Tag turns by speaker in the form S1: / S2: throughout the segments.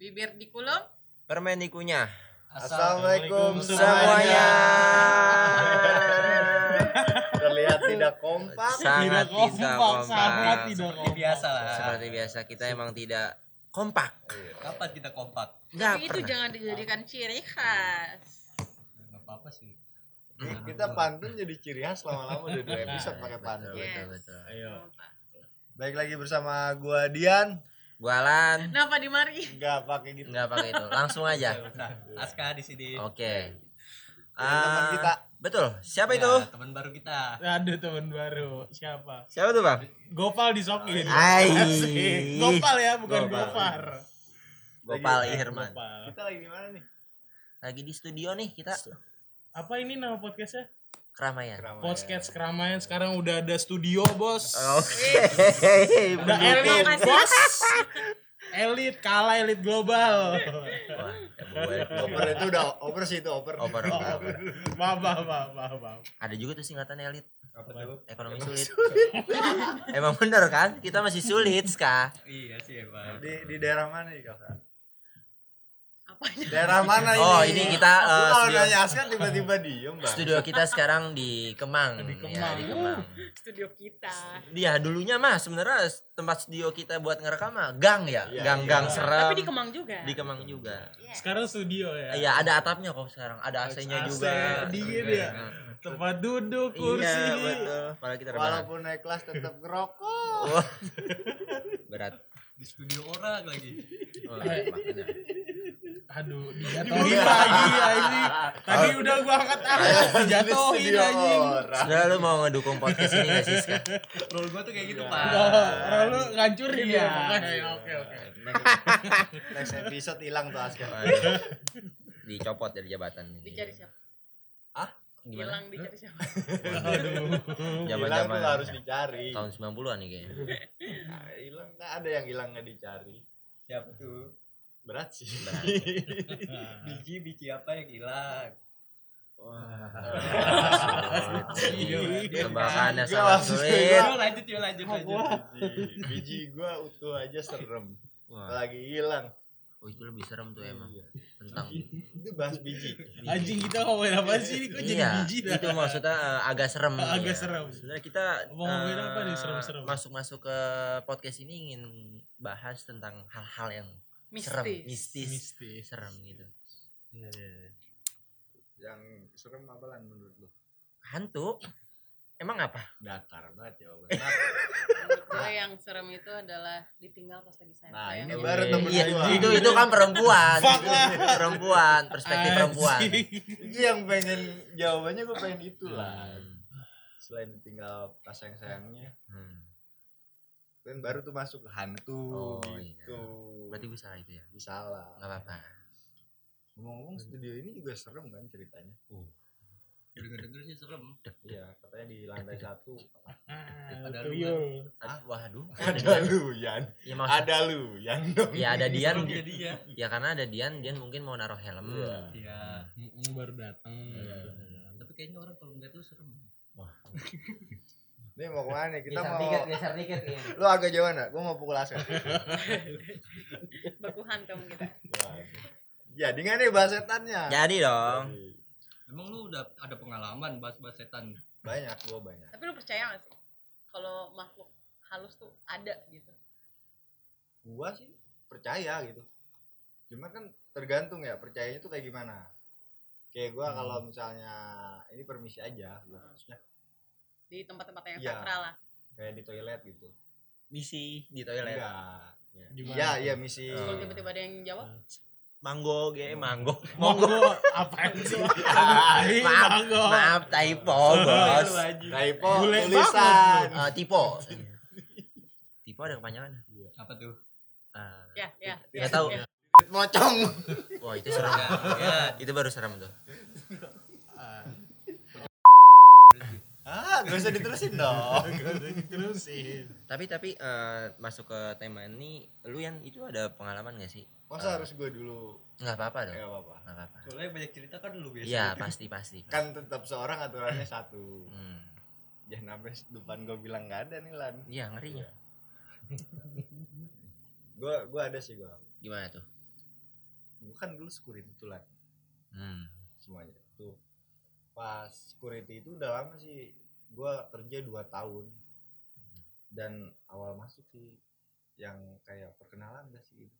S1: Bibir dikulum.
S2: Permen dikunyah.
S3: Assalamualaikum
S2: Semuanya.
S3: Terlihat tidak kompak.
S2: Sangat
S4: Tidak kompak,
S2: tidak kompak.
S4: sangat tidak kompak.
S5: biasa lah.
S2: Seperti biasa kita emang tidak kompak.
S5: Kapan kita kompak?
S2: Enggak
S1: Tapi itu
S2: pernah.
S1: jangan dijadikan ciri khas.
S5: Enggak apa-apa sih.
S3: Kita pantun jadi ciri khas lama-lama udah dua episode pakai
S2: Iya.
S3: pantun.
S1: Yes.
S4: Ayo.
S3: Baik lagi bersama gua Dian.
S2: Gualan
S1: Kenapa di mari?
S3: Enggak pakai gitu. Iya.
S2: enggak pakai itu. Langsung aja.
S5: Nah, Aska di sini.
S2: Iya. Oke.
S3: Dengan teman
S2: Ah,
S3: kita. Iya.
S2: Betul. Siapa
S5: Ya,
S2: itu?
S5: Teman baru kita.
S4: Ada teman baru. Siapa?
S2: Siapa tuh, Bang?
S4: Gopal disokin.
S2: Hai.
S4: Asik. Gopal ya, bukan
S2: Gopal.
S4: Gopar.
S2: Gopal
S3: Lagi- eh,
S2: Irman.
S4: Gopal.
S3: Kita lagi di mana nih?
S2: Lagi di studio nih kita.
S4: Apa ini nama podcastnya?
S2: Keramaian.
S3: Keramaian.
S4: Podcast keramaian sekarang udah ada studio, Bos.
S2: Oke.
S4: Udah elit, Bos. Elit kalah elit global.
S2: Wah, gue.
S3: Oper itu udah oper sih itu oper.
S2: Oper, oper, oper.
S4: Maaf, maaf, maaf, maaf, maaf.
S2: Ada juga tuh singkatan elit.
S3: Apa tuh?
S2: Ekonomi sulit. Emang bener kan? Kita masih sulit, Ska.
S5: Iya sih emang.
S3: Di di daerah mana nih kakak?
S1: Apanya?
S3: Daerah mana ini?
S2: Oh, ini kita,
S3: Aku
S2: eh,
S3: kalau
S2: studio.
S3: nanya Aska tiba-tiba diem bang.
S2: Studio kita sekarang di Kemang. Ya,
S4: Di Kemang.
S2: di Kemang.
S1: Studio kita.
S2: Iya, dulunya mah sebenarnya tempat studio kita buat ngerekam mah gang ya,
S3: Iya,
S2: gang-gang
S3: iya.
S2: serem.
S1: Tapi di Kemang juga.
S2: Di Kemang juga.
S1: Yes.
S4: Sekarang studio ya.
S2: Iya, ada atapnya kok sekarang, ada AC-nya
S4: AC,
S2: juga.
S4: dingin
S2: Iya.
S4: ya. Tempat duduk, kursi.
S2: Iya, betul. Malah kita rebahan.
S3: Walaupun naik kelas tetap ngerokok.
S2: Wah. Berat.
S5: Di studio orang lagi.
S2: Wah, makanya.
S4: Aduh, dijatuhin lagi anjing. Tadi
S2: Oh.
S4: udah gua angkat angkat
S3: Di
S4: dijatuhin
S3: studio
S4: anjing.
S3: orang.
S2: Sebenarnya lu mau ngedukung podcast ini gak sih, Ska?
S5: Role gua tuh kayak gitu,
S3: Iya.
S4: Oh,
S5: Pak.
S4: lalu ngancurin ya. Oke, oke.
S2: Iya,
S3: Next episode hilang tuh Aska.
S2: Waduh. Dicopot dari jabatan.
S1: Dicari siapa?
S2: Gimana?
S1: Hilang dicari siapa?
S4: Aduh.
S3: Hilang
S2: Zaman-zaman ya.
S3: tuh harus dicari.
S2: tahun 90-an nih kayaknya.
S3: Nah, hilang nggak ada yang hilang nggak dicari
S5: Siapa tuh?
S3: berat sih
S5: Biji-biji apa yang hilang?
S2: Iya.
S4: Iya.
S2: Tembakannya
S3: Gua
S2: sangat
S3: maksud
S2: sulit.
S3: gua.
S5: Yuk, lanjut, yuk, lanjut, lanjut.
S3: biji, biji gua utuh aja serem
S2: Wah,
S3: lagi hilang
S2: oh, itu lebih serem tuh emang
S3: Iya.
S2: tentang
S3: itu bahas biji
S4: Anjing kita ngomongin apa sih? Kok jadi
S2: iya,
S4: biji dah.
S2: itu maksudnya eh, agak serem.
S4: Agak
S2: iya.
S4: serem.
S2: Sebenarnya kita
S4: Mau ngomongin
S2: eh,
S4: apa nih serem-serem?
S2: Masuk-masuk ke podcast ini ingin bahas tentang hal-hal yang serem,
S1: Mistis.
S2: mistis,
S4: Mistis.
S2: serem gitu.
S3: yang serem apa lan menurut lu
S2: Hantu. Emang apa?
S3: datar banget ya
S1: Menurut gue yang serem itu adalah ditinggal pas lagi sayang.
S3: nah ini
S1: sayang.
S3: baru temen
S2: Iya,
S3: gua
S2: itu itu kan perempuan.
S4: Fuck lah.
S2: perempuan, perspektif perempuan.
S4: Anjing.
S3: itu yang pengen jawabannya gua pengen itu lah
S2: Hmm.
S3: selain ditinggal pas sayang sayangnya
S2: Hmm.
S3: kan baru tuh masuk ke hantu
S2: Oh, iya.
S3: gitu
S2: Berarti gue salah itu ya.
S3: Ini salah
S2: Gak apa-apa.
S3: ngomong-ngomong studio ini juga serem kan ceritanya
S5: Denger-denger sih serem.
S3: iya katanya di lantai satu
S4: Ah,
S5: Ada
S4: tuyul.
S2: Ah, waduh.
S3: ada lu Yan
S2: Ya maksud
S3: ada lu Yan dong
S2: ya ada Dian.
S5: Serem jadi ya.
S2: Ya karena ada Dian, Dian mungkin mau naruh helm. Hmm.
S3: Iya.
S5: Iya.
S4: Mm-mm, baru datang.
S5: Tapi kayaknya orang kalau ngeliat lu serem.
S3: ini mau kemana nih? kita
S2: Geser
S3: mau
S2: dikit, geser dikit ya.
S3: lu agak jauh nggak gua mau pukul asal
S1: Baku hantam kita.
S3: jadi nggak nih bahas setannya
S2: Jadi dong.
S3: Jadi,
S5: Emang lu udah ada pengalaman bahas-bahas setan?
S3: banyak gua banyak
S1: Tapi lu percaya gak sih? Kalau makhluk halus tuh ada gitu.
S3: gua sih percaya gitu cuma kan tergantung ya percayanya tuh kayak gimana kayak gua kalau misalnya ini permisi aja gua maksudnya
S1: Di tempat-tempat yang
S3: Iya.
S1: sakral lah.
S3: kayak di toilet gitu
S2: Misi di toilet.
S3: enggak Ya.
S4: Gimana
S3: iya
S4: tuh?
S3: iya misi
S1: Kalau
S2: Hmm.
S1: Oh, tiba-tiba ada yang jawab,
S2: Manggo ge, manggo.
S4: Monggo apa sih? Aduh,
S2: Maaf.
S4: monggo.
S2: Maaf typo,
S5: Iya,
S2: Bos.
S5: lu aja.
S3: typo
S4: Bule
S3: tulisan
S2: Eh, tipo. tipo ada kepanjangan.
S5: Apa tuh?
S2: Ah.
S1: ya, ya.
S2: Nggak
S1: ya,
S2: tahu.
S1: ya.
S3: mocong
S2: Wah, itu serem. Iya,
S5: Ya,
S2: itu baru serem tuh.
S4: Ah,
S3: ah gak usah diterusin dong
S4: Terusin.
S2: Tapi tapi eh, masuk ke tema ini, lu yang itu ada pengalaman gak sih?
S3: masa harus gue dulu
S2: Nggak apa-apa dong.
S3: nggak apa-apa
S2: Nggak apa-apa.
S5: soalnya banyak cerita kan lu biasa.
S2: Iya, pasti pasti. pasti.
S3: kan tetap seorang aturannya satu
S2: Hmm.
S3: jangan sampai depan gue bilang nggak ada nih lan Iya.
S2: Iya, ngerinya.
S3: gue gue ada sih gue
S2: Gimana tuh?
S3: gue kan dulu security tuh lah
S2: Hmm.
S3: semuanya tuh pas security itu udah lama sih gua kerja 2 tahun dan awal masuk sih yang kayak perkenalan gak sih gitu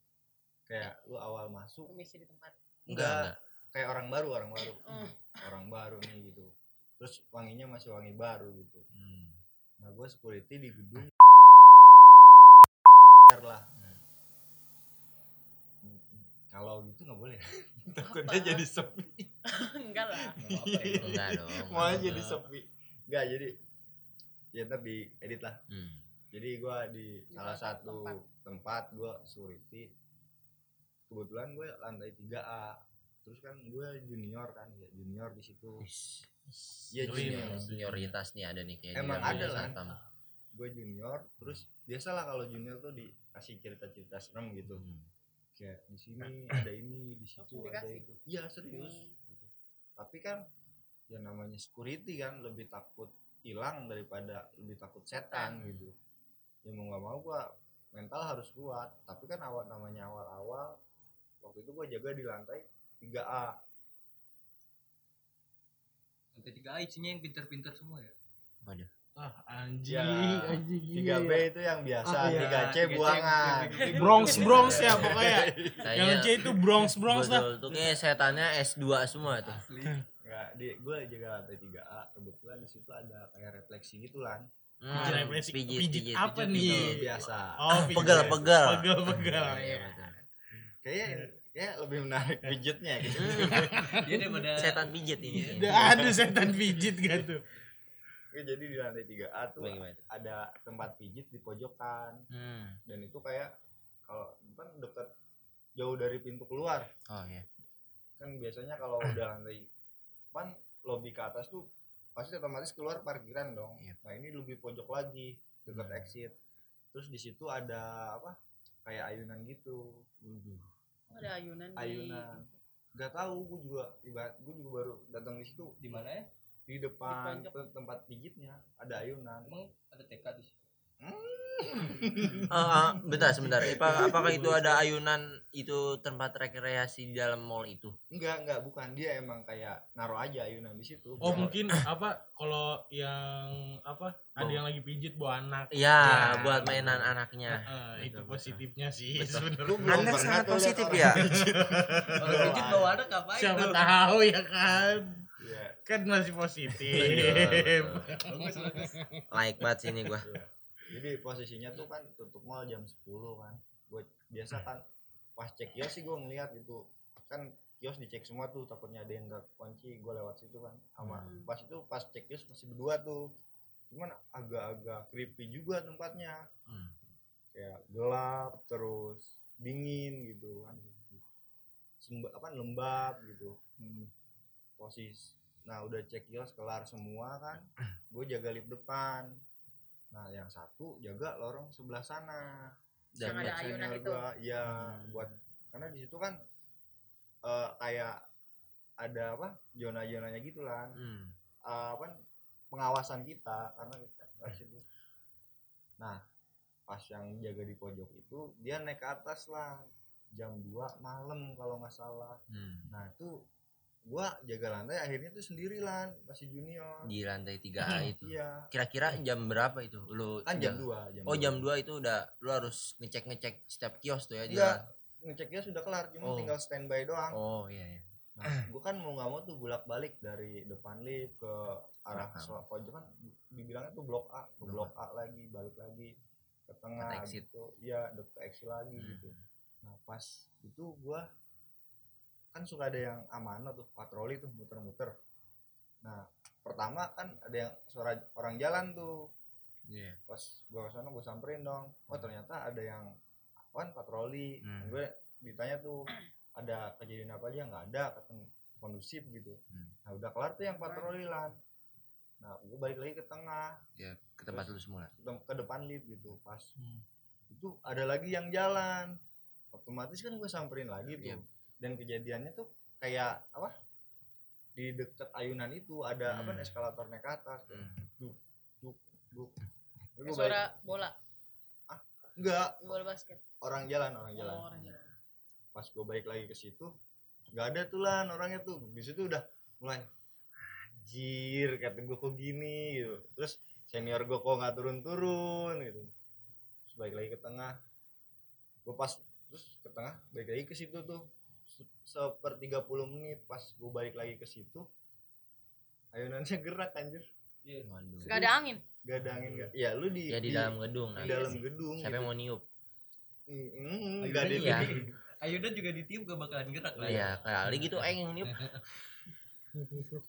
S3: kayak lu awal masuk
S1: permisi di tempat
S2: Enggak,
S3: enggak
S2: enggak.
S3: kayak orang baru orang baru
S1: Hmm.
S3: orang baru nih gitu terus wanginya masih wangi baru gitu
S2: Hmm.
S3: nah gue security di gedung lah kalau gitu nggak boleh takutnya
S1: Apa?
S3: jadi sepi
S1: enggak lah
S5: Nggak apa-apa ya.
S2: Enggak dong.
S3: mau
S5: Enggak.
S3: jadi sepi nggak jadi ya ntar di edit lah
S2: Hmm.
S3: jadi gue di salah
S1: satu
S3: satu
S1: tempat.
S3: tempat, gua gue security kebetulan gue lantai 3A terus kan gue junior kan ya junior di situ Iya,
S2: Junior-
S3: junior.
S2: Senioritas nih ada nih kayak di-
S3: Emang
S2: di
S3: ada lah.
S2: Satam.
S3: gue junior terus biasalah kalau junior tuh dikasih cerita-cerita serem gitu
S2: Hmm.
S3: kayak di sini ada ini di situ
S1: Nah. Langsung
S3: ada
S1: dikasih. Hmm.
S3: itu iya serius Gitu. tapi kan ya namanya security kan lebih takut hilang daripada lebih takut setan gitu ya mau nggak mau gua mental harus kuat tapi kan awal namanya awal-awal waktu itu gua jaga di lantai 3A
S5: Lantai tiga A isinya yang pinter-pinter semua ya.
S2: Waduh.
S4: Ah, anjing,
S3: Ya,
S4: anjing gila.
S3: 3B itu yang biasa
S4: Ah,
S2: Nah,
S4: iya.
S3: 3C buangan
S4: Bronx Bronx ya pokoknya. Yang
S2: Kayaknya
S4: C itu Bronx Bronx lah.
S2: Iya. betul tuh kayak setannya S2 semua tuh.
S5: Asli.
S3: nggak di gua jaga lantai 3A kebetulan di situ ada kayak refleksi gitu kan
S2: Hmm,
S4: Pijit, pijit, pijit, apa
S2: pijit,
S4: nih?
S2: pijit.
S3: biasa
S4: Iya. Oh,
S2: Pegel,
S4: pijit.
S2: pegel.
S4: Pegel, pegel.
S2: Iya,
S4: ya.
S2: betul.
S3: kayaknya kayak lebih menarik
S4: Iya.
S3: pijitnya gitu
S5: Iya, Dia daripada
S2: Hmm, Setan pijit ini.
S4: Udah ada setan pijit gak tuh?
S3: Oke, jadi di lantai 3A tuh
S4: Iya,
S2: Bagaimana tuh?
S3: ada tempat pijit di pojokan
S2: Hmm.
S3: dan itu kayak kalau kan deket jauh dari pintu keluar
S2: Oh iya.
S3: kan biasanya kalau udah lantai kan lobi ke atas tuh pasti otomatis keluar parkiran dong
S2: Iya.
S3: nah ini lebih pojok lagi deket
S2: Hmm.
S3: exit terus di situ ada apa kayak ayunan gitu
S1: Oh, ada ayunan di-
S3: Ayunan. nggak tahu gue juga ibarat gue juga baru datang di situ
S5: di mana ya?
S3: di depan
S1: pojok.
S3: te- tempat pijitnya ada ayunan
S5: Emang ada TK di situ.
S2: Ah, ah, bentar sebentar. Apa- apakah itu ada ayunan itu tempat rekreasi di dalam mall itu?
S3: enggak enggak bukan dia emang kayak naruh aja ayunan di situ
S4: Oh,
S3: Kalau-
S4: mungkin apa kalau yang apa? Ada yang lagi pijit bawa anak.
S2: Ya,
S4: Ya.
S2: buat mainan anaknya.
S4: Ah,
S2: betul,
S4: itu
S2: betul.
S4: positifnya sih
S2: Betul.
S3: Lu
S4: sebenarnya.
S3: belum
S2: Anda
S3: pernah
S2: sangat
S3: tuh lihat
S2: positif
S3: orang
S2: ya.
S3: pijit.
S5: Kalau pijit bawa anak ngapain?
S4: Siapa
S5: tuh?
S4: tahu ya kan?
S3: Iya.
S4: Kan masih positif.
S5: Bagus, bagus.
S2: Like banget sini gua.
S3: Jadi posisinya tuh kan tutup mall jam 10 kan. Gue biasa kan pas cek kios sih gue ngeliat gitu. Kan kios dicek semua tuh takutnya ada yang gak kunci gue lewat situ kan sama
S1: Hmm.
S3: pas itu pas cek kios masih berdua tuh cuman agak-agak creepy juga tempatnya
S2: Hmm.
S3: kayak gelap terus dingin gitu kan Semba- apa lembab gitu
S1: Hmm.
S3: posisi nah udah cek kios kelar semua kan gue jaga lift depan nah yang satu jaga lorong sebelah sana
S1: Yang
S2: Dan
S1: ada
S3: Buat
S1: ayunan
S3: senior
S1: itu.
S3: gua, iya
S2: Hmm.
S3: buat karena di situ kan eh, kayak ada apa zona zonanya gitu lah
S2: Hmm.
S3: eh, apa pengawasan kita karena kita di situ. nah pas yang jaga di pojok itu dia naik ke atas lah jam 2 malam kalau nggak salah
S2: hmm.
S3: Nah itu gua jaga lantai akhirnya tuh sendirian masih junior.
S2: Di lantai 3A itu.
S3: Iya.
S2: Kira-kira jam berapa itu? Lu
S3: Kan jam 2, jam
S2: Oh, jam 2
S3: 2.
S2: itu udah lu harus ngecek-ngecek setiap kios tuh ya di
S3: Enggak.
S2: lan-
S3: Ngeceknya sudah kelar, cuma
S2: Oh.
S3: tinggal standby doang.
S2: Oh, iya iya.
S3: Nah, gua kan mau nggak mau tuh bolak-balik dari depan lift ke arah
S2: Belakang.
S3: so- pojok kan dibilangnya tuh blok A, ke
S2: Nah. Blok
S3: blok A lagi, balik lagi ke tengah
S2: Ke exit.
S3: gitu. Iya, deket ke exit lagi
S2: Hmm.
S3: gitu. Nah, pas itu gua kan suka ada yang amanah tuh patroli tuh muter-muter. Nah, pertama kan ada yang suara orang jalan tuh.
S2: Iya.
S3: pas gua ke sana gua samperin dong oh ternyata ada yang wan patroli
S2: Hmm.
S3: gue ditanya tuh ada kejadian apa aja nggak ada katanya kondusif gitu
S2: Hmm.
S3: nah udah kelar tuh yang patroli lan nah gue balik lagi ke tengah
S2: Ya, ke tempat lu semula.
S3: ke tem- ke depan lift gitu pas
S4: Hmm.
S3: itu ada lagi yang jalan otomatis kan gue samperin lagi tuh
S2: Iya.
S3: dan kejadiannya tuh kayak apa di deket ayunan itu ada apa
S2: Hmm.
S3: eskalator naik ke atas
S2: Hmm. Eh,
S3: Gua-
S1: Kayak
S3: gua balik-
S1: suara bola
S3: enggak
S1: bola basket
S3: orang jalan orang jalan
S1: Oh, orang jalan
S3: pas gue balik lagi ke situ nggak ada tuh lan orangnya tuh di situ udah mulai anjir kata gue kok gini gitu terus senior gue kok nggak turun-turun gitu terus balik lagi ke tengah gue pas terus ke tengah balik lagi ke situ tuh Se- seper 30 menit pas gue balik lagi ke situ ayunannya gerak anjir
S2: Waduh.
S1: Gak ada angin.
S3: gak ada angin gak ya lu di
S2: Ya di dalam gedung. Nah.
S3: di dalam gedung
S2: Siapa yang mau niup?
S3: gak ada
S5: Ayunan
S2: iya.
S3: yang-
S5: Ayunan juga ditiup gak bakalan gerak lah. ya.
S2: Iya, kali gitu aing yang niup.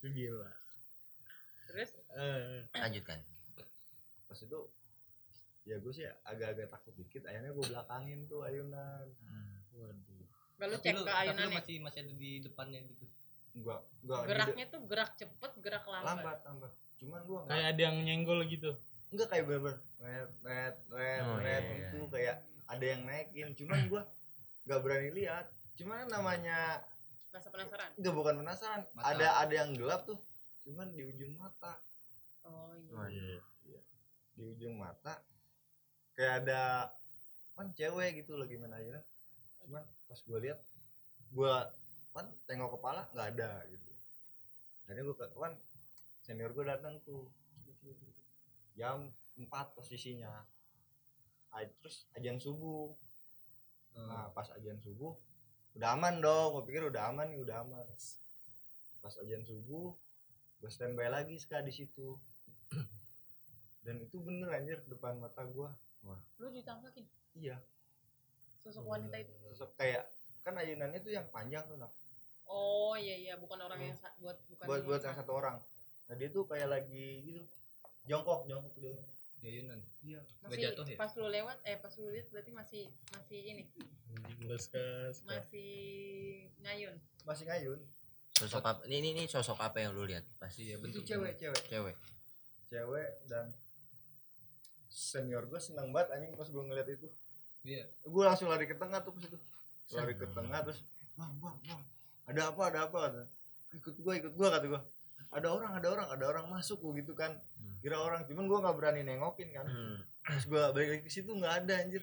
S3: gila
S1: Terus
S4: Eh,
S2: Lanjutkan.
S3: pas itu ya gue sih agak-agak takut dikit akhirnya gue belakangin tuh ayunan
S1: gak lu
S5: Tapi
S1: cek
S5: lu-
S1: ke ya?
S5: tapi lu
S1: ayunannya.
S5: masih masih ada di depannya gitu.
S3: enggak enggak di-
S1: Geraknya tuh gerak cepet, gerak lambat.
S3: lambat lambat cuman gue enggak
S4: Kayak ada yang nyenggol gitu.
S3: enggak kayak bener red red red
S2: Oh,
S3: red
S2: iya, iya.
S3: itu kayak ada yang naikin cuman gue nggak berani lihat cuman namanya
S1: Rasa penasaran.
S3: enggak bukan penasaran
S5: Mata.
S3: ada ada yang gelap tuh cuman di ujung mata
S1: Oh iya.
S2: Waduh.
S3: di ujung mata kayak ada kan cewek gitu lagi main ayunan cuman pas gue lihat gue kan tengok kepala nggak ada gitu akhirnya gue kan senior gue datang tuh jam 4 posisinya Ah, terus ajan subuh
S5: Hmm.
S3: nah pas ajan subuh udah aman dong gue pikir udah aman nih udah aman pas ajan subuh gue standby lagi ska di situ dan itu bener anjir depan mata gue
S1: Lu ditampakin
S3: iya
S1: sosok wanita itu.
S3: sosok kayak kan ayunannya tuh yang panjang tuh Nap.
S1: Oh iya iya, bukan orang yang sa- buat bukan
S3: buat buat yang satu orang nah dia tuh kayak lagi gitu jongkok jongkok dia
S5: Di ayunan.
S1: masih
S5: Nggak jatuh ya?
S1: pas lu lewat eh pas lu lihat berarti masih masih ini masih ngayun
S3: masih ngayun
S2: Sosok apa? Ini ini, ini sosok apa yang lu lihat? Pasti
S3: itu
S5: Iya, bentuk
S3: cewek cewek
S2: cewek.
S3: cewek dan senior gue seneng banget anjing pas gue ngeliat itu
S5: Iya.
S3: gue langsung lari ke tengah tuh pas itu lari ke tengah terus bang bang bang ada apa ada apa kata. ikut gua ikut gua kata gua ada orang ada orang ada orang masuk gua gitu kan
S2: Hmm.
S3: kira orang cuman gua nggak berani nengokin kan
S2: Hmm.
S3: terus gua balik lagi ke situ nggak ada anjir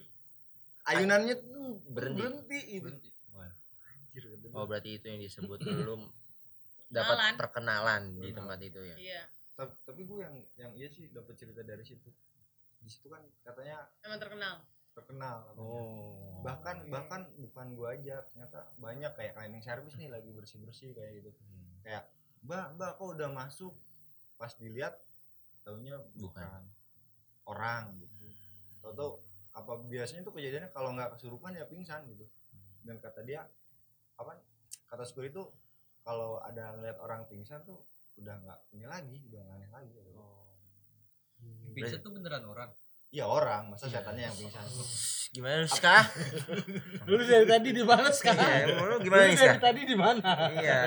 S3: ayunannya tuh
S2: Berhenti.
S3: berhenti berhenti itu
S5: Berhenti.
S3: anjir kata gua.
S2: Oh berarti itu yang disebut belum dapat
S1: Kenalan.
S2: perkenalan di
S3: Perkenalan.
S2: tempat itu ya.
S1: iya
S3: Ta- tapi gua yang yang iya sih dapat cerita dari situ di situ kan katanya
S1: emang terkenal
S3: terkenal katanya.
S2: Oh.
S3: bahkan bahkan bukan gua aja ternyata banyak kayak cleaning service nih lagi bersih bersih kayak gitu kayak mbak mbak kok udah masuk pas dilihat taunya
S4: gitu
S3: bukan,
S2: Bukan.
S4: kan.
S3: Kan. orang gitu
S4: Hmm.
S3: tau tau apa biasanya tuh kejadiannya kalau nggak kesurupan ya pingsan gitu
S4: Hmm.
S3: dan kata dia apa kata sekur itu kalau ada ngeliat orang pingsan tuh udah nggak ini lagi udah nggak aneh lagi
S4: Oh.
S5: Pizza tuh beneran orang.
S3: iya orang masa setannya yang pingsan
S4: Oh,
S2: Gimana lu Ska?
S4: Lu dari tadi di mana sekarang?
S2: Iya, lu
S4: Lu
S2: gimana nih Ska?
S4: dari tadi di mana?
S2: Iya.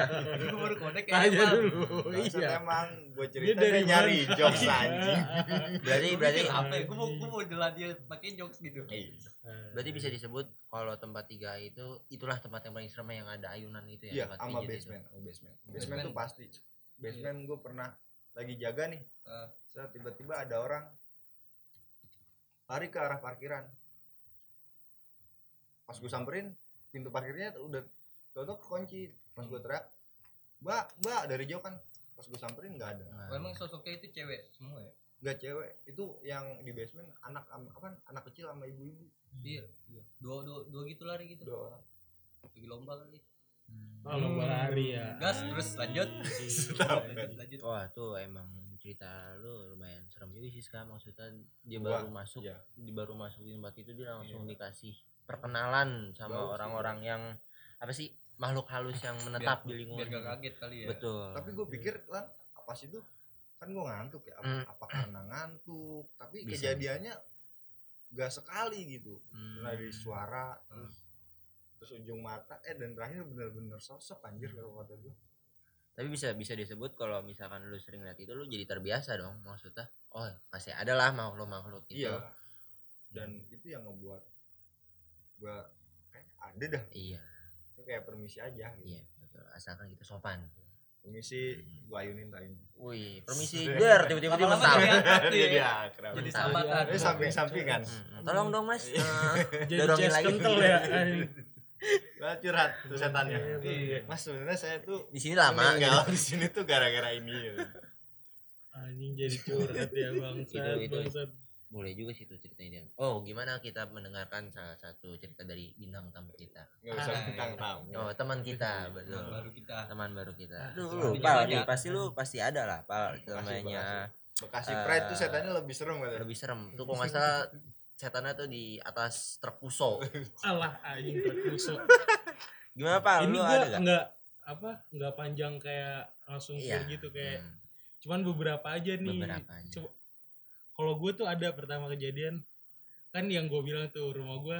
S5: Gue baru konek ya.
S4: Tanya
S5: Bang.
S4: dulu.
S3: Bangsat
S4: Iya.
S3: emang gue cerita
S4: dari
S3: dari nyari
S4: mana? Iya.
S3: jokes anjing
S2: Berarti
S5: Gua
S2: berarti Iya.
S5: mikir apa ya? Gue mau gue mau jelas dia pakai jokes gitu.
S3: Iya.
S2: berarti
S3: Hmm.
S2: bisa disebut kalau tempat tiga itu itulah tempat yang paling serem yang ada ayunan itu ya.
S3: Iya,
S2: tempat
S3: sama
S2: pijit itu.
S3: basement, oh, basement. Iya. Basement,
S5: Basement.
S3: tuh pasti. Basement gue pernah lagi jaga nih.
S5: Ah.
S3: Saya tiba-tiba ada orang lari ke arah parkiran. Pas gue samperin, pintu parkirnya tuh udah tutup kunci. Pas gue teriak, "Mbak, Mbak," dari jauh kan. Pas gue samperin nggak ada.
S2: Nah,
S5: Oh, Emang sosoknya itu cewek semua ya?
S3: Nggak cewek. Itu yang di basement anak am- apa? Anak kecil sama ibu-ibu.
S2: Hmm.
S5: Iya. Dua dua dua gitu lari gitu.
S3: Dua orang.
S5: Lagi lomba kali.
S4: Oh, lomba lari ya.
S2: Hmm.
S4: Iya.
S5: Gas terus lanjut. lanjut. lanjut.
S2: Wah tuh emang cerita lu lumayan serem juga sih sekarang maksudnya dia
S3: Gua,
S2: baru masuk
S3: iya.
S2: dia baru masuk di tempat itu dia langsung dikasih perkenalan
S3: Bagus
S2: sama
S3: sih.
S2: orang-orang yang apa sih makhluk halus yang menetap di
S5: Biar
S2: lingkungan
S5: gak
S2: itu.
S5: kaget kali ya.
S2: betul
S3: Tapi gue pikir lan apa sih tuh? Kan gue ngantuk ya. Apa,
S2: Hmm.
S3: apa karena ngantuk? Tapi
S2: Bisa,
S3: kejadiannya nggak sekali gitu.
S2: Hmm.
S3: dari suara terus terus ujung mata eh dan terakhir bener-bener sosok anjir kalau kata gue
S2: tapi bisa bisa disebut kalau misalkan lu sering lihat itu lu jadi terbiasa dong maksudnya oh pasti ada lah makhluk makhluk itu
S3: iya dan itu yang ngebuat gue kayak ada dah
S2: iya
S3: Itu kayak permisi aja gitu
S2: iya betul asalkan kita sopan
S3: permisi gue ayunin ayunin Iya,
S2: wih permisi der tiba-tiba dia mental
S5: Lama-lama
S2: iya.
S5: kelihatan tuh
S3: dia
S5: ya.
S3: dia kerap
S5: Jadi
S2: Mental.
S5: sahabatan.
S2: Iya,
S3: Ini kan. samping-sampingan
S2: Hmm, tolong dong mas Eh,
S4: Jadi
S2: dorongin
S4: chest
S2: lagi.
S4: kental ya.
S3: Nah, curhat tuh setannya.
S4: Iya.
S3: Mas sebenarnya saya tuh
S2: di sini lama gitu.
S3: meninggal di sini tuh gara-gara ini.
S4: Anjing jadi curhat ya bangsat,
S2: Itu- itu-
S4: bangsat.
S2: boleh juga sih itu ceritanya Dian. oh gimana kita mendengarkan salah satu cerita dari bintang tamu kita
S3: Enggak usah
S5: Ah,
S3: bintang
S5: iya.
S3: tamu.
S2: oh teman kita
S5: Nah,
S2: betul
S5: baru kita
S2: teman baru kita
S4: Ah,
S2: lu,
S5: teman
S2: lu
S5: baru
S2: pal
S5: kita.
S2: nih, pasti lu pasti ada lah pal
S3: Makasih,
S2: namanya
S3: Bekasi
S2: Eh,
S3: Pride tuh setannya lebih serem katanya.
S2: lebih serem tuh kalau nggak salah setannya tuh di atas truk puso
S4: Alah anjing tertusuk.
S2: gimana pal Nah,
S4: Ini
S2: lu
S4: gua
S2: ada gak?
S4: enggak apa enggak panjang kayak langsung full
S2: Iya.
S4: gitu kayak
S2: Hmm,
S4: cuman beberapa aja nih.
S2: beberapa aja.
S4: Coba- Kalau gue tuh ada pertama kejadian kan yang gue bilang tuh rumah gue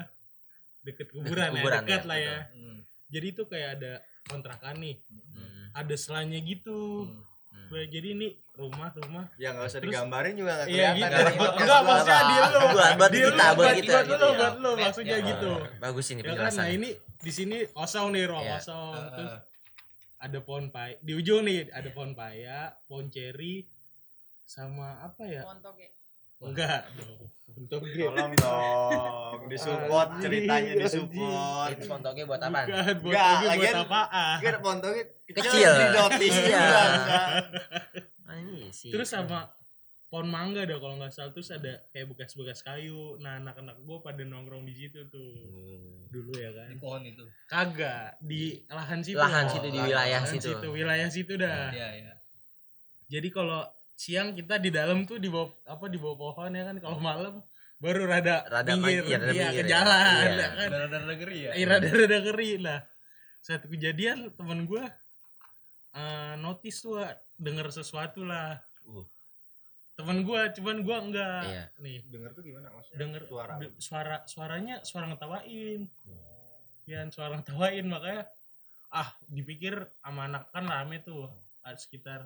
S4: deket kuburan,
S2: kuburan
S4: ya, dekat
S2: ya,
S4: lah ya.
S2: betul.
S5: Hmm.
S4: Jadi itu kayak ada kontrakan nih,
S2: Hmm,
S4: ada selanya gitu.
S5: Hmm.
S2: hmm.
S4: Nah, Jadi ini rumah rumah
S3: Ya enggak usah
S4: Terus-
S3: digambarin juga enggak
S4: Iya
S3: kelihatan
S4: gitu.
S3: dari podcast
S4: Enggak
S3: lu.
S4: maksudnya
S2: apa?
S4: di lu.
S2: Buat- buat
S4: Di lu,
S2: kita, buat kita,
S4: Buat
S2: gitu
S4: lu,
S2: ya.
S4: buat lu maksudnya
S5: Ya.
S4: gitu.
S2: Ah, bagus ini
S4: Ya kan, nah
S2: penjelasan
S4: ini di sini kosong nih ruang
S2: Iya.
S4: kosong.
S5: Ah,
S4: Terus
S5: ah.
S4: ada pohon paya. Di ujung nih ada pohon paya, pohon ceri, sama apa ya?
S1: montok ya
S4: Enggak. dong. Untuk grip.
S3: Tolong dong, disupport
S4: Anjing,
S3: ceritanya
S4: anjing.
S3: disupport.
S2: itu fontoknya buat apaan?
S4: Bukan, buat
S3: Enggak,
S4: lagi buat
S3: lagian-
S4: apaan?
S3: Kan pontongnya
S2: Kecil.
S3: kecil di notis
S2: Iya.
S3: juga kan.
S2: Ah, ini sih.
S4: Terus sama pohon mangga dah kalau nggak salah terus ada kayak bekas-bekas kayu. Nah, anak-anak gue pada nongkrong di situ tuh.
S2: Hmm.
S4: Dulu ya
S5: di
S4: kan.
S5: pohon itu
S4: Kagak di lahan situ.
S2: lahan
S5: Oh,
S2: situ di
S5: lahan-
S2: wilayah
S4: Lahan
S2: situ. Nah,
S4: wilayah situ dah.
S5: ya ya
S4: Jadi kalau siang kita di dalam tuh di bawah apa di bawah pohon ya kan kalau malam baru rada
S2: Rada
S4: pinggir,
S2: minggir, rada
S4: iya,
S2: minggir
S4: ke
S2: ya.
S4: jalan
S2: Iya.
S4: ya kan.
S5: daerah-daerah negeri ya
S4: Eh, rada rada keri lah. Satu kejadian temen gue eh notice tuh ah, denger sesuatu lah.
S2: Uh.
S4: Temen gue cuman gue enggak
S2: Iya.
S4: nih
S3: Dengar tuh gimana maksudnya?
S4: denger
S3: suara.
S4: de- suara suaranya suara ngetawain
S3: Hmm.
S4: Yan suara ngetawain makanya ah dipikir sama anak kan rame tuh ada sekitar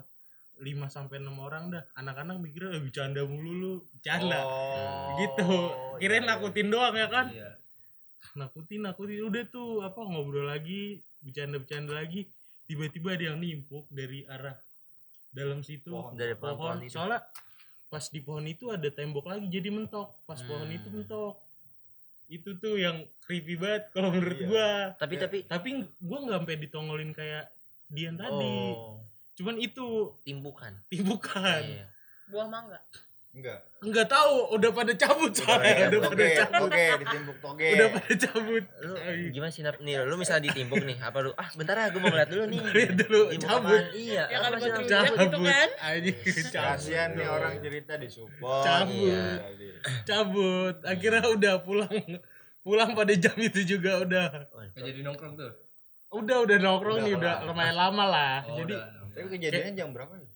S4: 5 sampai 6 orang dah anak-anak mikirnya eh, bercanda mulu lu bercanda
S3: Oh,
S4: gitu kirain
S3: iya, iya.
S4: nakutin doang ya kan
S5: Iya.
S4: nakutin nakutin udah tuh apa ngobrol lagi bercanda bercanda lagi tiba-tiba ada yang nimpuk dari arah dalam situ
S3: Pohon.
S2: dari pohon-pohon
S4: pohon
S2: itu.
S4: soalnya pas di pohon itu ada tembok lagi jadi mentok pas pohon
S2: Hmm.
S4: itu mentok itu tuh yang creepy banget kalau menurut
S3: Iya.
S4: gua
S2: Tapi
S3: Ya.
S2: tapi
S4: tapi ng- gua nggak sampai ditongolin kayak Dian tadi
S2: oh,
S4: cuman itu
S2: timbukan.
S4: timbukan
S2: Iya.
S1: buah mangga
S3: Enggak.
S4: nggak tahu udah pada cabut soalnya udah pada
S3: Toge,
S4: cabut
S3: toge, ditimbuk toge.
S4: udah pada cabut
S2: Lu
S4: Ay.
S2: Eh, gimana sih Nap? nih lu misalnya ditimbuk nih apa lu ah bentar ah gue mau ngeliat dulu nih
S4: Lihat dulu
S2: Timbuk
S4: cabut
S2: apaan? iya
S1: Ya, kalau
S2: apa sih
S1: gua
S2: Nap?
S1: dulu- Cabut gitu kan?
S4: aja
S3: Iya.
S4: cabut
S3: Kasihan nih orang cerita disupport.
S4: Cabut.
S3: Iya, jadi.
S4: cabut akhirnya udah pulang pulang pada jam itu juga udah
S5: Nggak jadi nongkrong tuh
S4: udah udah nongkrong
S3: Udah
S4: nih udah
S3: kelar.
S4: lumayan lama lah
S5: oh,
S4: Nah, jadi
S5: udah, udah.
S3: Tapi kejadiannya jam berapa nih?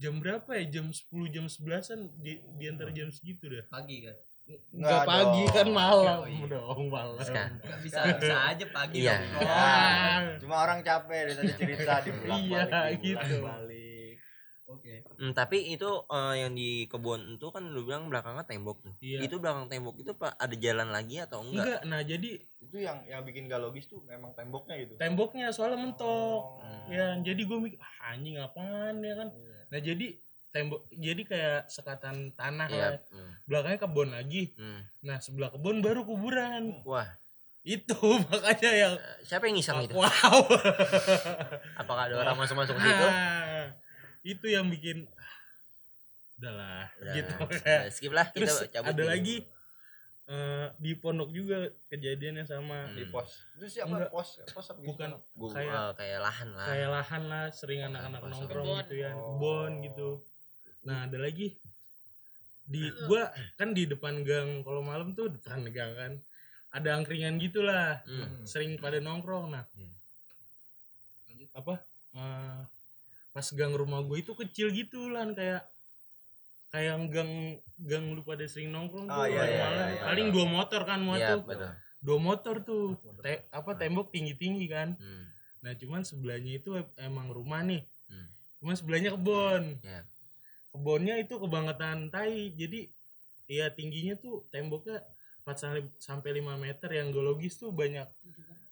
S4: jam berapa ya jam 10 jam 11an di, di antara jam segitu dah
S5: pagi kan
S4: nggak
S3: Nggak
S4: pagi
S3: dong.
S4: kan malam
S5: Oh, iya.
S4: dong malam
S2: Sekarang.
S5: Nggak bisa bisa aja pagi
S2: Iya.
S5: nongkrong.
S4: Ah.
S3: Cuma orang capek dari tadi cerita di bulan
S4: Iya,
S3: balik, di
S4: gitu.
S3: balik.
S5: oke
S2: Hmm, tapi itu eh, yang di kebun itu kan lu bilang belakangnya tembok tuh
S4: Iya.
S2: itu belakang tembok itu pak ada jalan lagi atau enggak,
S4: enggak nah jadi
S3: Itu yang yang bikin gak logis tuh memang temboknya gitu.
S4: temboknya soalnya mentok
S3: Oh.
S4: ya jadi gue mikir "Ah, anjing apaan ya kan
S3: Iya.
S4: nah jadi tembok jadi kayak sekatan tanah
S2: iya
S4: lah. belakangnya kebun lagi
S2: Hmm.
S4: nah sebelah kebun baru kuburan
S2: wah
S4: itu makanya yang
S2: eh, siapa yang ngiseng itu
S4: wow
S2: apakah ada orang masuk masuk situ
S4: Ah, itu yang bikin "Ah, udahlah
S2: Udah,
S4: gitu
S2: udah, skip lah kita
S4: terus
S2: cabut
S4: ada
S2: dulu.
S4: lagi eh, di pondok juga kejadiannya sama
S2: Hmm.
S3: Di pos. Itu siapa
S4: Enggak.
S3: pos? Pos apa gitu?
S4: bukan
S2: Gua-
S4: kayak-
S2: eh, kayak lahan lah
S4: kayak lahan lah sering
S2: Bukan
S4: anak-anak
S2: kosong.
S4: nongkrong
S1: Kebon.
S4: gitu ya
S3: Oh.
S4: kebon gitu nah ada lagi di gua kan di depan gang kalau malam tuh depan gang kan ada angkringan gitulah
S2: Hmm.
S4: sering pada nongkrong nah
S2: Hmm.
S4: apa eh, pas gang rumah gue itu kecil gitu lan kayak kayak gang gang lu pada sering nongkrong
S3: Oh,
S4: tuh
S3: iya,
S4: hari
S2: iya,
S4: malam.
S2: iya, iya.
S4: paling dua motor kan muat
S2: Iya,
S4: tuh
S2: betul.
S4: dua motor tuh
S3: Motor.
S4: Te- apa tembok tinggi tinggi kan
S2: Hmm.
S4: nah cuman sebelahnya itu em- emang rumah nih
S2: Hmm.
S4: cuman sebelahnya kebon
S2: Iya.
S4: kebonnya itu kebangetan tai jadi ya tingginya tuh temboknya 4 sampai- sampai 5 meter yang geologis tuh banyak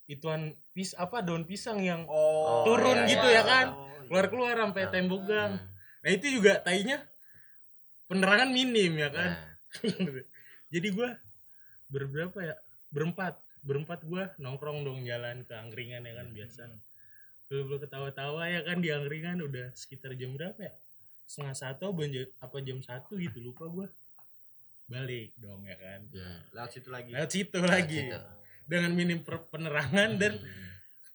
S4: ituan pis apa daun pisang yang
S3: Oh,
S4: Turun
S2: iya,
S1: gitu ya
S4: kan?
S3: Oh, iya.
S4: keluar-keluar sampai
S2: Nah.
S4: tembok gang.
S2: Hmm.
S4: Nah itu juga tainya penerangan minim ya kan.
S2: Nah,
S4: Jadi gua berberapa ya? Berempat. berempat gua nongkrong dong jalan ke angkringan ya
S2: Iya.
S4: kan biasa Dulu ketawa-tawa ya kan di angkringan udah sekitar jam berapa ya? Setengah satu apa jam- apa jam satu gitu lupa gua Balik dong ya kan.
S2: Hmm.
S3: lewat situ lagi
S4: Lewat situ lagi.
S2: Lewat situ. Hmm.
S4: Dengan minim per- penerangan dan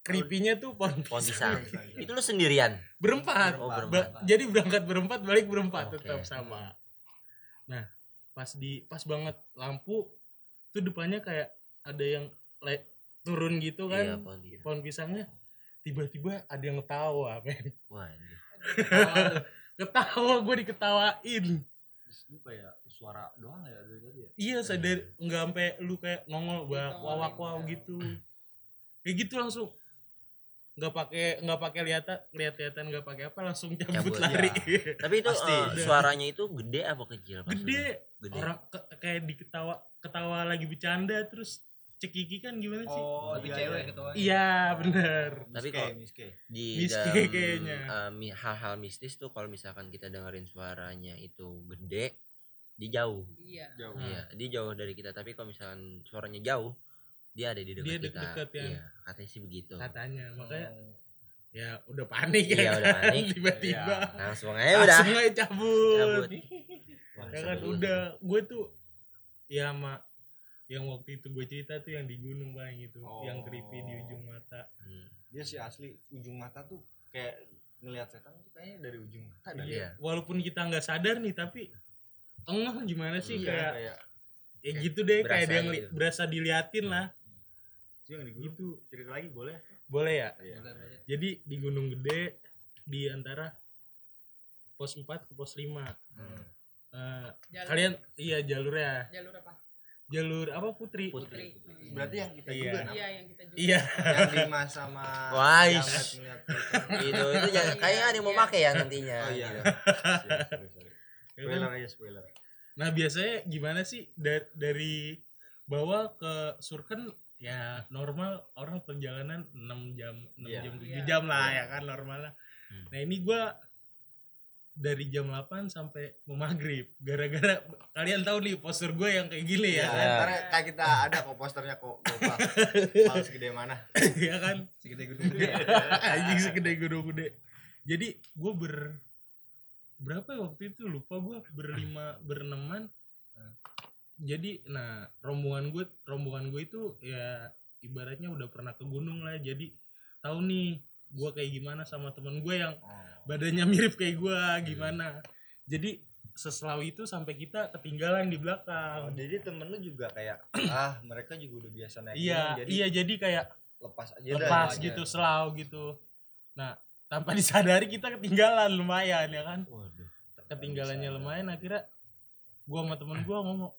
S4: creepy-nya tuh pohon
S2: Pohon
S4: pisang.
S3: Nah,
S2: pisang. Itu lu sendirian.
S4: Berempat.
S2: Oh,
S4: Ba-
S2: berempat.
S4: jadi berangkat berempat, balik berempat
S2: Oke.
S4: tetap sama. Nah, pas di pas banget lampu tuh depannya kayak ada yang le- turun gitu
S2: Iya,
S4: kan.
S2: pohon pisang.
S4: Pohon pisangnya tiba-tiba ada yang ketawa, men.
S2: Wah, anjir.
S4: ketawa gue diketawain
S3: Terus lupa ya suara doang ya dari tadi ya
S4: iya sadar nggak sampai lu kayak nongol bak
S1: Ditawarin,
S4: wawak waw
S1: ya.
S4: gitu kayak gitu langsung nggak pakai nggak pakai lihat lihat lihatan nggak pakai apa langsung
S2: Cabut,
S4: cabut lari
S2: Tapi itu
S3: Pasti.
S2: eh, suaranya itu gede apa kecil? Pak?
S4: Iya. gede
S2: Gede.
S4: orang ke- kayak diketawa ketawa lagi bercanda terus cekiki kan gimana sih
S3: oh
S5: Tapi cewek ketua.
S4: iya bener
S2: Tapi
S3: tapi
S2: kalau-
S3: kok miske
S2: Di
S4: Miske
S2: dalam
S4: kayaknya.
S2: eh, mi- hal-hal mistis tuh kalau misalkan kita dengerin suaranya itu gede, dia jauh.
S1: Iya.
S3: jauh
S2: Iya, dia jauh dari kita. Tapi kalau misalkan suaranya jauh, dia ada di dekat
S4: Dia
S2: kita.
S4: deket-deket, ya.
S2: Iya, katanya sih begitu.
S4: katanya makanya ya udah panik
S2: Oh. Iya,
S4: ya
S2: udah
S4: kan?
S2: panik.
S4: tiba-tiba
S2: Langsung aja udah.
S4: langsung aja
S2: Cabut. Wah,
S4: Ya
S2: seru
S4: kan
S2: sih.
S4: udah gue tuh ya sama yang waktu itu gue cerita tuh yang di gunung bang gitu
S3: Oh.
S4: yang creepy di ujung mata
S2: Hmm.
S3: dia sih asli ujung mata tuh kayak ngelihat setan tuh kayaknya dari ujung mata dah.
S2: Iya.
S4: walaupun kita nggak sadar nih tapi engah gimana sih
S3: Iya,
S4: kayak
S3: kayak
S4: ya gitu deh
S2: Berasa
S4: kayak dia ngeli-
S2: gitu.
S4: berasa diliatin lah
S3: Itu yang di gunung
S4: gitu
S3: cerita lagi boleh
S4: boleh ya
S3: iya
S5: Boleh, boleh.
S4: jadi di gunung gede di antara pos 4 ke pos 5 Eh,
S1: Jalur,
S4: kalian iya jalurnya
S1: jalur apa?
S4: jalur apa putri,
S1: Putri. Hmm.
S3: berarti yang kita
S4: Iya.
S3: juga nah.
S1: Iya yang kita juga.
S4: iya
S3: yang lima sama
S2: Wah,
S3: yang
S2: ish.
S3: ngeliat setan.
S2: itu itu jangan kayaknya ada yang mau
S1: Iya.
S2: pakai ya nantinya.
S3: oh iya
S2: gitu.
S3: Sorry, sorry.
S4: Ya kan?
S3: spoiler aja spoiler
S4: Nah biasanya gimana sih Da- dari bawah ke Surken ya normal orang perjalanan 6 jam 6
S3: Iya.
S4: jam 7
S1: Iya.
S4: jam lah
S3: Iya.
S4: ya kan normal lah.
S2: Hmm.
S4: Nah ini gua dari jam 8 sampai mau maghrib gara-gara kalian tahu nih postur gue yang kayak gini
S3: Iya,
S4: ya
S2: Iya.
S3: ntar kayak kita ada kok posternya kok Gopal. Pal segede mana?
S4: ya kan
S5: Segede gedung gede.
S4: anjing segede gedung gede jadi gue ber berapa ya waktu itu lupa gue berlima bereneman jadi nah rombongan gue rombongan gue itu ya ibaratnya udah pernah ke gunung lah jadi tahu nih gue kayak gimana sama temen gue yang badannya mirip kayak gue gimana jadi seselau itu sampai kita ketinggalan di
S3: Oh,
S4: belakang
S3: jadi temen lu juga kayak ah mereka juga udah biasa naik
S4: iya
S3: gunung, jadi
S4: iya jadi kayak
S3: lepas aja Iya dah
S4: lepas
S3: semuanya.
S4: gitu selau gitu nah tanpa disadari kita ketinggalan lumayan ya kan
S2: Waduh.
S4: ketinggalannya
S3: Iya. Bisa,
S4: lumayan akhirnya gua sama temen gua ngomong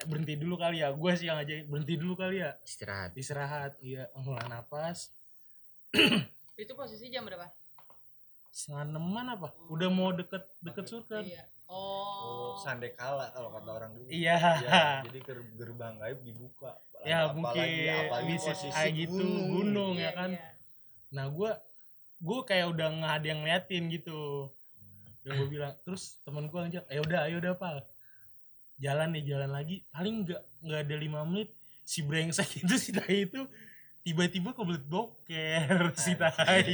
S4: "Eh, berhenti dulu kali ya gua sih yang aja berhenti dulu kali ya
S2: Istirahat.
S4: istirahat iya ngelah napas
S1: Itu posisi jam berapa?
S4: setengah eneman apa udah mau deket deket surga
S1: Iya. Oh.
S3: Oh, sande kala kalau kata orang dulu.
S4: iya
S3: Iya, jadi ger- gerbang gaib dibuka.
S4: ya
S3: Apalagi-
S4: mungkin
S3: apalagi
S4: bisa
S3: posisi
S4: kayak gitu gunung
S1: Iya,
S4: ya kan
S1: iya.
S4: nah gua gua kayak udah nggak ada yang ngeliatin gitu yang gue bilang terus temen gue ngajak ayo udah ayo udah pal jalan nih jalan lagi paling nggak nggak ada lima menit si brengsek itu si tai itu tiba-tiba kebelet boker si tai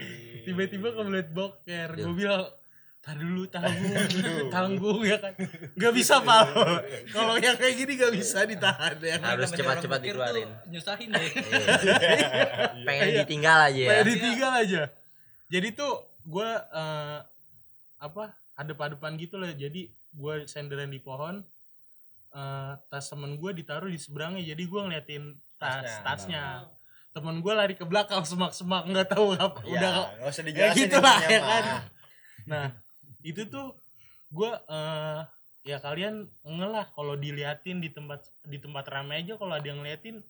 S4: Iya. tiba-tiba kebelet boker gue bilang tar dulu tanggung tanggung ya kan nggak bisa pal kalau yang kayak gini nggak bisa ditahan ya kan
S2: Harus
S5: Namanya
S2: cepat-cepat
S5: orang pikir tuh
S2: dikeluarin.
S5: Nyusahin deh.
S2: Iya. Pengen
S4: Iya.
S2: ditinggal aja ya.
S4: Kayak ditinggal aja. Jadi tuh gue apa hadap-hadapan gitu lah. Jadi gue senderan di pohon. eh, tas temen gue ditaruh di seberangnya. Jadi gue ngeliatin tas
S3: Tasnya.
S4: tasnya.
S1: Oh.
S4: Temen gue lari ke belakang semak-semak nggak tahu apa.
S3: Iya,
S4: Udah
S3: nggak usah
S4: ya
S3: dijelasin
S4: gitu lah
S3: intinya
S4: ya
S3: mah.
S4: kan. Nah itu tuh gue ya kalian ngelah kalau diliatin di tempat di tempat ramai aja kalau ada yang ngeliatin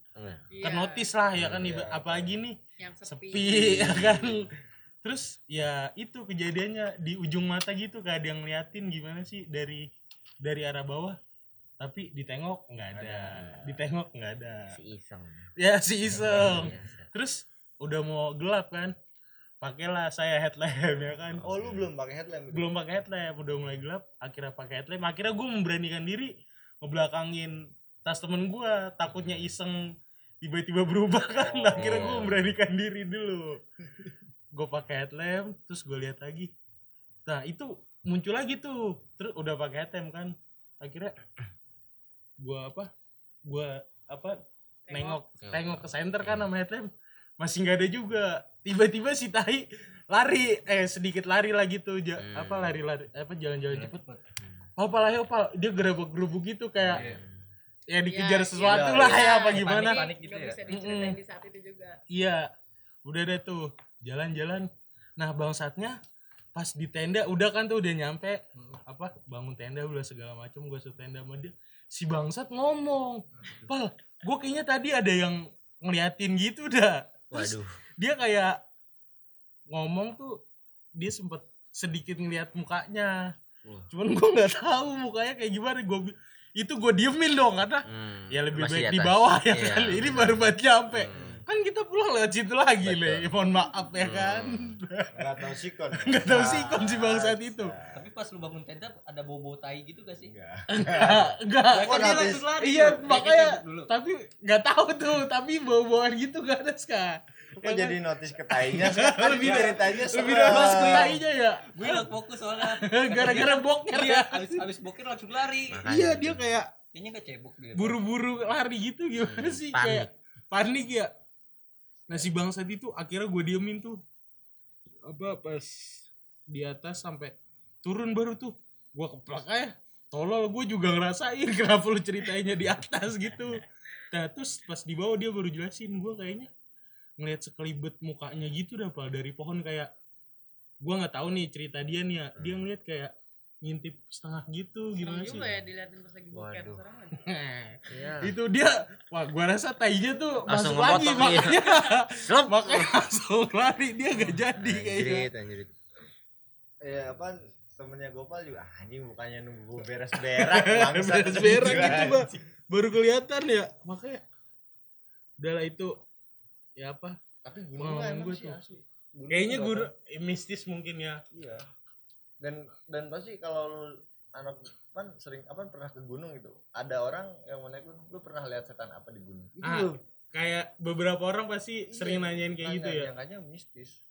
S1: Iya,
S4: ternotis lah ya kan iba-
S3: Iya.
S4: apalagi nih
S1: Yang sepi.
S4: sepi ya kan terus ya itu kejadiannya di ujung mata gitu kayak ada yang ngeliatin gimana sih dari dari arah bawah tapi ditengok nggak ada.
S3: Ada. Iya.
S4: ditengok nggak ada
S2: Si Iseng. Iya,
S4: ya si iseng
S2: Biasa.
S4: terus udah mau gelap kan pakailah saya headlamp ya kan
S3: Oh, lu belum pakai headlamp.
S4: belum pakai headlamp udah mulai gelap akhirnya pakai headlamp akhirnya gue memberanikan diri ngebelakangin tas temen gue takutnya iseng tiba-tiba berubah kan
S3: Oh.
S4: akhirnya gue memberanikan diri dulu gue pakai headlamp terus gue lihat lagi nah itu muncul lagi tuh terus udah pakai headlamp kan akhirnya gue apa gue apa nengok
S2: Tengok.
S4: tengok ke center kan
S5: iya.
S2: Hmm.
S4: sama headlamp masih nggak ada juga tiba-tiba si tai lari eh sedikit lari lagi tuh ja-
S5: Iya,
S2: Hmm.
S4: apa lari-lari apa jalan-jalan cepet
S5: cepet.
S4: opal aja opal dia gerabak-gerubuk gitu kayak
S5: Iya.
S2: Hmm.
S4: ya dikejar
S1: Ya,
S4: sesuatu
S5: iya,
S4: lah
S5: iya.
S4: ya apa gimana
S5: Panik, panik gitu
S1: Gak
S5: ya?
S1: bisa diceritain
S4: Mm-mm.
S1: di saat itu juga.
S4: Iya, udah deh tuh jalan-jalan. Nah bangsatnya pas di tenda udah kan tuh udah nyampe apa bangun tenda udah segala macem gue suruh tenda sama dia si bangsat ngomong pal gue kayaknya tadi ada yang ngeliatin gitu dah Terus
S2: Waduh.
S4: dia kayak ngomong tuh dia sempet sedikit ngeliat mukanya
S2: Wah.
S4: cuman gue nggak tahu mukanya kayak gimana gue itu gue diemin dong karena
S2: Hmm,
S4: ya lebih
S2: masih
S4: baik di
S2: atas.
S4: bawah ya
S2: Iya,
S4: kali ini
S2: benar.
S4: baru buat nyampe
S2: Hmm.
S4: kan kita pulang lewat situ lagi
S2: Betul.
S4: le mohon maaf ya
S2: Hmm.
S4: kan
S3: nggak tahu Nah, sikon
S4: Nggak tahu sikon si bangsat itu.
S5: Tapi pas lu bangun tenda ada bobo tai gitu gak sih?
S3: Enggak.
S4: enggak
S5: Ya kan
S3: Kan
S5: dia
S3: habis-
S5: langsung lari.
S4: iya,
S5: tuh.
S4: makanya-
S5: Kayak gitu dulu.
S4: tapi nggak tahu tuh tapi bawa-bawaan gitu gak ada ska
S3: Kok jadi notice ke tainya? Kan
S4: Lebih
S3: lebih
S4: dari-
S3: dari tainya
S4: Ya kan? Iya. lebih
S3: serem.
S4: dari ke tainya ya
S5: Gue gak fokus soalnya.
S4: gara-gara boker
S5: Iya,
S4: ya
S5: abis, abis boker langsung lari.
S2: Makanya
S4: iya
S2: gitu.
S4: dia kayak
S5: Kayaknya gak cebok dia.
S4: buru-buru lari gitu gimana
S2: Hmm,
S4: sih
S2: panik.
S4: kayak panik ya nah si bangsat itu akhirnya gue diemin tuh apa pas di atas sampai turun baru tuh gue keplak aja tolol gue juga ngerasain kenapa lu ceritainnya di atas gitu nah terus pas di bawah dia baru jelasin gue kayaknya ngeliat sekelibet mukanya gitu dah pal dari pohon kayak gue nggak tahu nih cerita dia nih ya dia ngeliat kayak ngintip setengah gitu
S1: Serem
S4: gimana sih Nah.
S1: juga ya diliatin pas lagi boker.
S2: Waduh.
S1: Serem aja.
S2: Iya.
S4: itu dia wah gua rasa tainya tuh
S2: Langsung
S4: masuk lagi
S2: memotong
S4: makanya
S2: Slop.
S4: makanya langsung lari dia gak jadi kayaknya
S2: Anjrit, anjrit.
S3: Iya, apa temennya Gopal juga anjing bukannya nunggu gue beres berak bangsat
S4: Beres berak gitu, Bang. baru kelihatan ya makanya udahlah itu ya apa
S3: tapi gunung
S4: Pengalaman
S3: emang
S4: gua
S3: sih
S4: tuh.
S3: asli Gunung
S4: kayaknya
S3: juga
S4: guru
S3: kan.
S4: mistis mungkin ya
S3: iya dan dan pasti kalau lu anak pan sering apa pernah ke gunung gitu ada orang yang mau naik gunung lu pernah lihat setan apa di gunung itu
S4: Ah, kayak beberapa orang pasti sering nanyain kayak gitu ya
S3: makanya mistis